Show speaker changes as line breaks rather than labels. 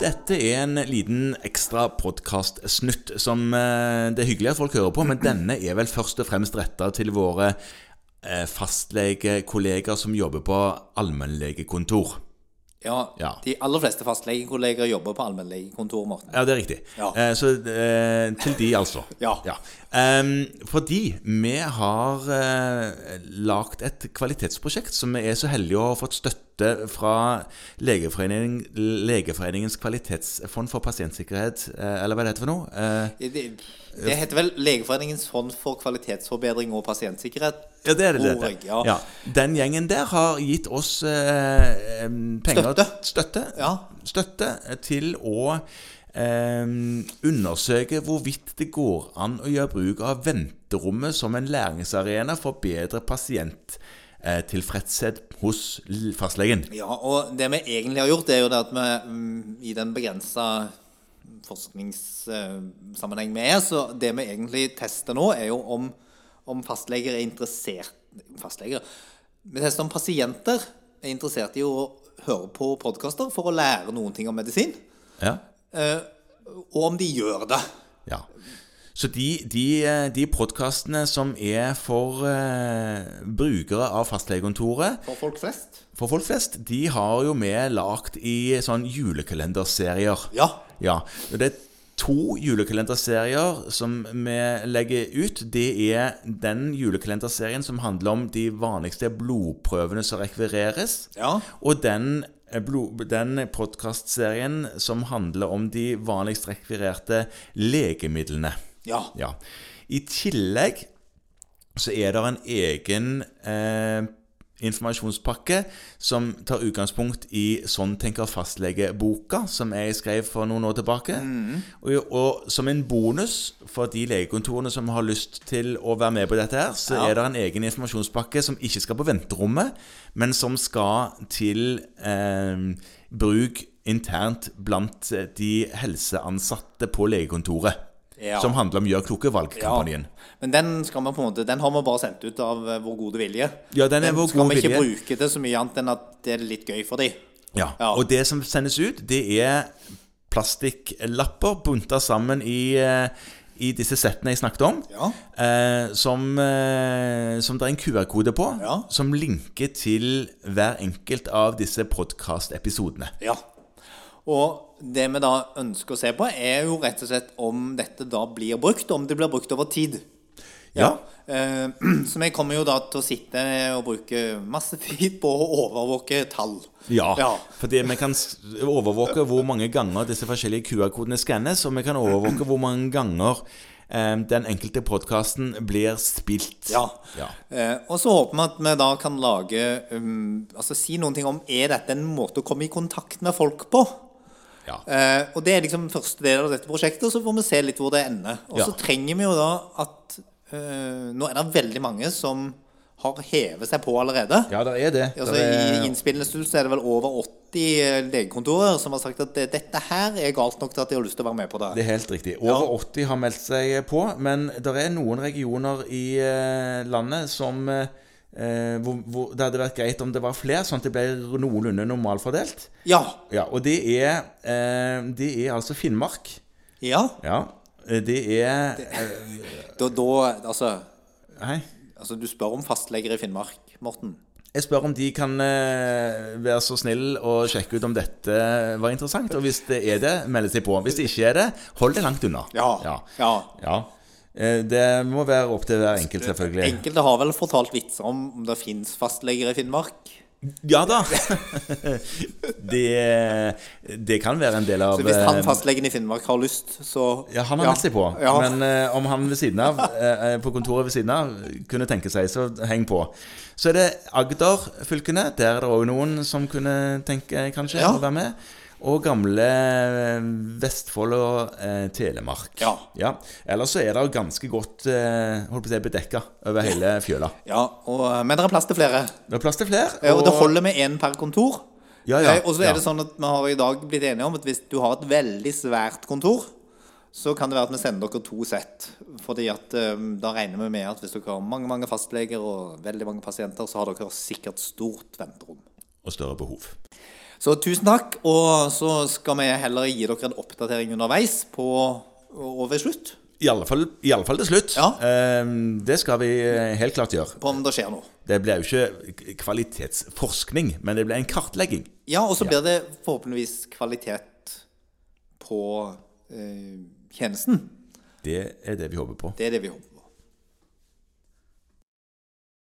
Dette er en liten ekstra podkastsnutt som eh, det er hyggelig at folk hører på, men denne er vel først og fremst retta til våre eh, fastlegekolleger som jobber på allmennlegekontor.
Ja,
Ja.
De aller fleste fastlegekolleger jobber på allmennlegekontor, Morten.
Ja, det er riktig.
Ja.
Eh, så eh, til de, altså.
Ja.
Ehm, fordi vi har eh, lagd et kvalitetsprosjekt som vi er så heldige å ha fått støtte fra Legeforeningen, Legeforeningens kvalitetsfond for pasientsikkerhet, eh, eller hva det heter for noe. Eh,
Det, det heter vel Legeforeningens fond for kvalitetsforbedring og pasientsikkerhet.
Ja, det er det.
tror
det.
jeg,
heter.
Ja.
Ja. Den gjengen der har gitt oss eh, em, penger
Støtte.
Støtte,
Ja.
støtte til å em, undersøke hvorvidt det går an å gjøre bruk av venterommet som en læringsarena for bedre pasienttilfredshet eh, hos l- fastlegen.
Ja, og det vi egentlig har gjort, det er jo det at vi mm, i den begrensa forskningssammenheng vi er, så det vi egentlig tester nå, er jo om, om fastleger er interessert Fastleger Vi tester om pasienter er interessert i å høre på podkaster for å lære noen ting om medisin,
Ja.
eh, og om de gjør det.
ja. Så de, de, eh, de podkastene som er for eh, brukere av fastlegekontoret,
For folk flest.
For folk flest, de har jo vi lagt i sånn julekalenderserier.
Ja.
Ja, og det er to julekalenderserier som vi legger ut. Det er den julekalenderserien som handler om de vanligste blodprøvene som rekvireres.
Ja.
Og den, eh, blod- den podkastserien som handler om de vanligst rekvirerte legemidlene.
Ja.
Ja. I tillegg så er det en egen eh, informasjonspakke som tar utgangspunkt i Sånn tenker fastlege-boka, som jeg skrev for noen år tilbake.
Mm.
Og, og som en bonus for de legekontorene som har lyst til å være med på dette, her, så
Ja.
er det en egen informasjonspakke som ikke skal på venterommet, men som skal til eh, bruk internt blant de helseansatte på legekontoret.
Ja.
Som handler om Gjør kloke valg-kampanjen.
Men den, skal vi på en måte, den har vi bare sendt ut av eh, vår gode vilje.
Ja, den er vår
skal
gode
vi ikke
vilje.
bruke til så mye annet enn at det er litt gøy for dem.
Ja.
Ja.
Og det som sendes ut, det er plastikklapper bunta sammen i, eh, i disse settene jeg snakket om.
Ja.
Eh, som, eh, som det er en QR-kode på,
Ja.
som linker til hver enkelt av disse podkast-episodene.
Ja. Og det vi da ønsker å se på, er jo rett og slett om dette da blir brukt, om det blir brukt over tid.
Ja.
Eh, Så vi kommer jo da til å sitte og bruke masse tid på å overvåke tall.
Ja,
ja.
fordi vi kan s- overvåke hvor mange ganger disse forskjellige QR-kodene skannes, og vi kan overvåke hvor mange ganger eh, den enkelte podkasten blir spilt.
Ja.
Ja.
Eh, og så håper vi at vi da kan lage um, Altså si noen ting om er dette en måte å komme i kontakt med folk på.
Ja.
Eh, og det er liksom første del av dette prosjektet, og så får vi se litt hvor det ender. Og så
Ja.
trenger vi jo da at eh, Nå er det veldig mange som har hevet seg på allerede.
Ja, det er det.
Altså,
Der er-
I innspillende stund så er det vel over 80 legekontorer som har sagt at det- dette her er galt nok til at de har lyst til å være med på det.
Det er helt riktig. Over 80 har meldt seg eh, på, men det er noen regioner i eh, landet som eh, eh, hvor, hvor det hadde vært greit om det var flere, sånn at det ble noenlunde normalfordelt.
Ja.
Ja, og det er, eh, det er altså Finnmark.
ja.
Ja, eh, det er
Da, da altså,
Hei.
altså Du spør om fastleger i Finnmark, Morten.
Jeg spør om de kan eh, være så snill og sjekke ut om dette var interessant. Og hvis det er det, melde seg på. Hvis det ikke er det, hold det langt unna.
Ja.
ja.
Ja.
Ja. Eh, Det må være opp til hver enkelt, selvfølgelig.
Enkelte har vel fortalt vitser om om det fins fastleger i Finnmark.
Ja da! det, det kan være en del av
Så hvis han
eh,
fastlegen i Finnmark har lyst, så
ja, han har meldt seg på,
Ja.
men eh, om han ved siden av, eh, eh, på kontoret ved siden av kunne tenke seg, så heng på. Så er det Agder-fylkene. Der er det òg noen som kunne tenke kanskje
Ja.
å være med. Og gamle eh, Vestfold og eh, Telemark.
Ja.
Ellers så er det ganske godt eh, holdt på å si, bedekka over hele fjøla.
Ja, og, eh, men det er plass til flere.
Det er plass til flere.
Eh, Og det holder med én per kontor.
Ja, ja,
Eh, Og så er
ja.
det sånn at vi har i dag blitt enige om at hvis du har et veldig svært kontor, så kan det være at vi sender dere to sett. Fordi at eh, da regner vi med at hvis dere har mange mange fastleger og veldig mange pasienter, så har dere sikkert stort venterom.
og større behov.
Så tusen takk, og så skal vi heller gi dere en oppdatering underveis på, og ved slutt
I alle fall, i alle fall til slutt.
Ja.
Eh, det skal vi eh, helt klart gjøre.
på om det skjer noe.
Det blir jo ikke kvalitetsforskning, men det blir en kartlegging.
Ja, og så blir det forhåpentligvis kvalitet på eh, tjenesten.
Det er det vi håper på.
Det er det vi håper på.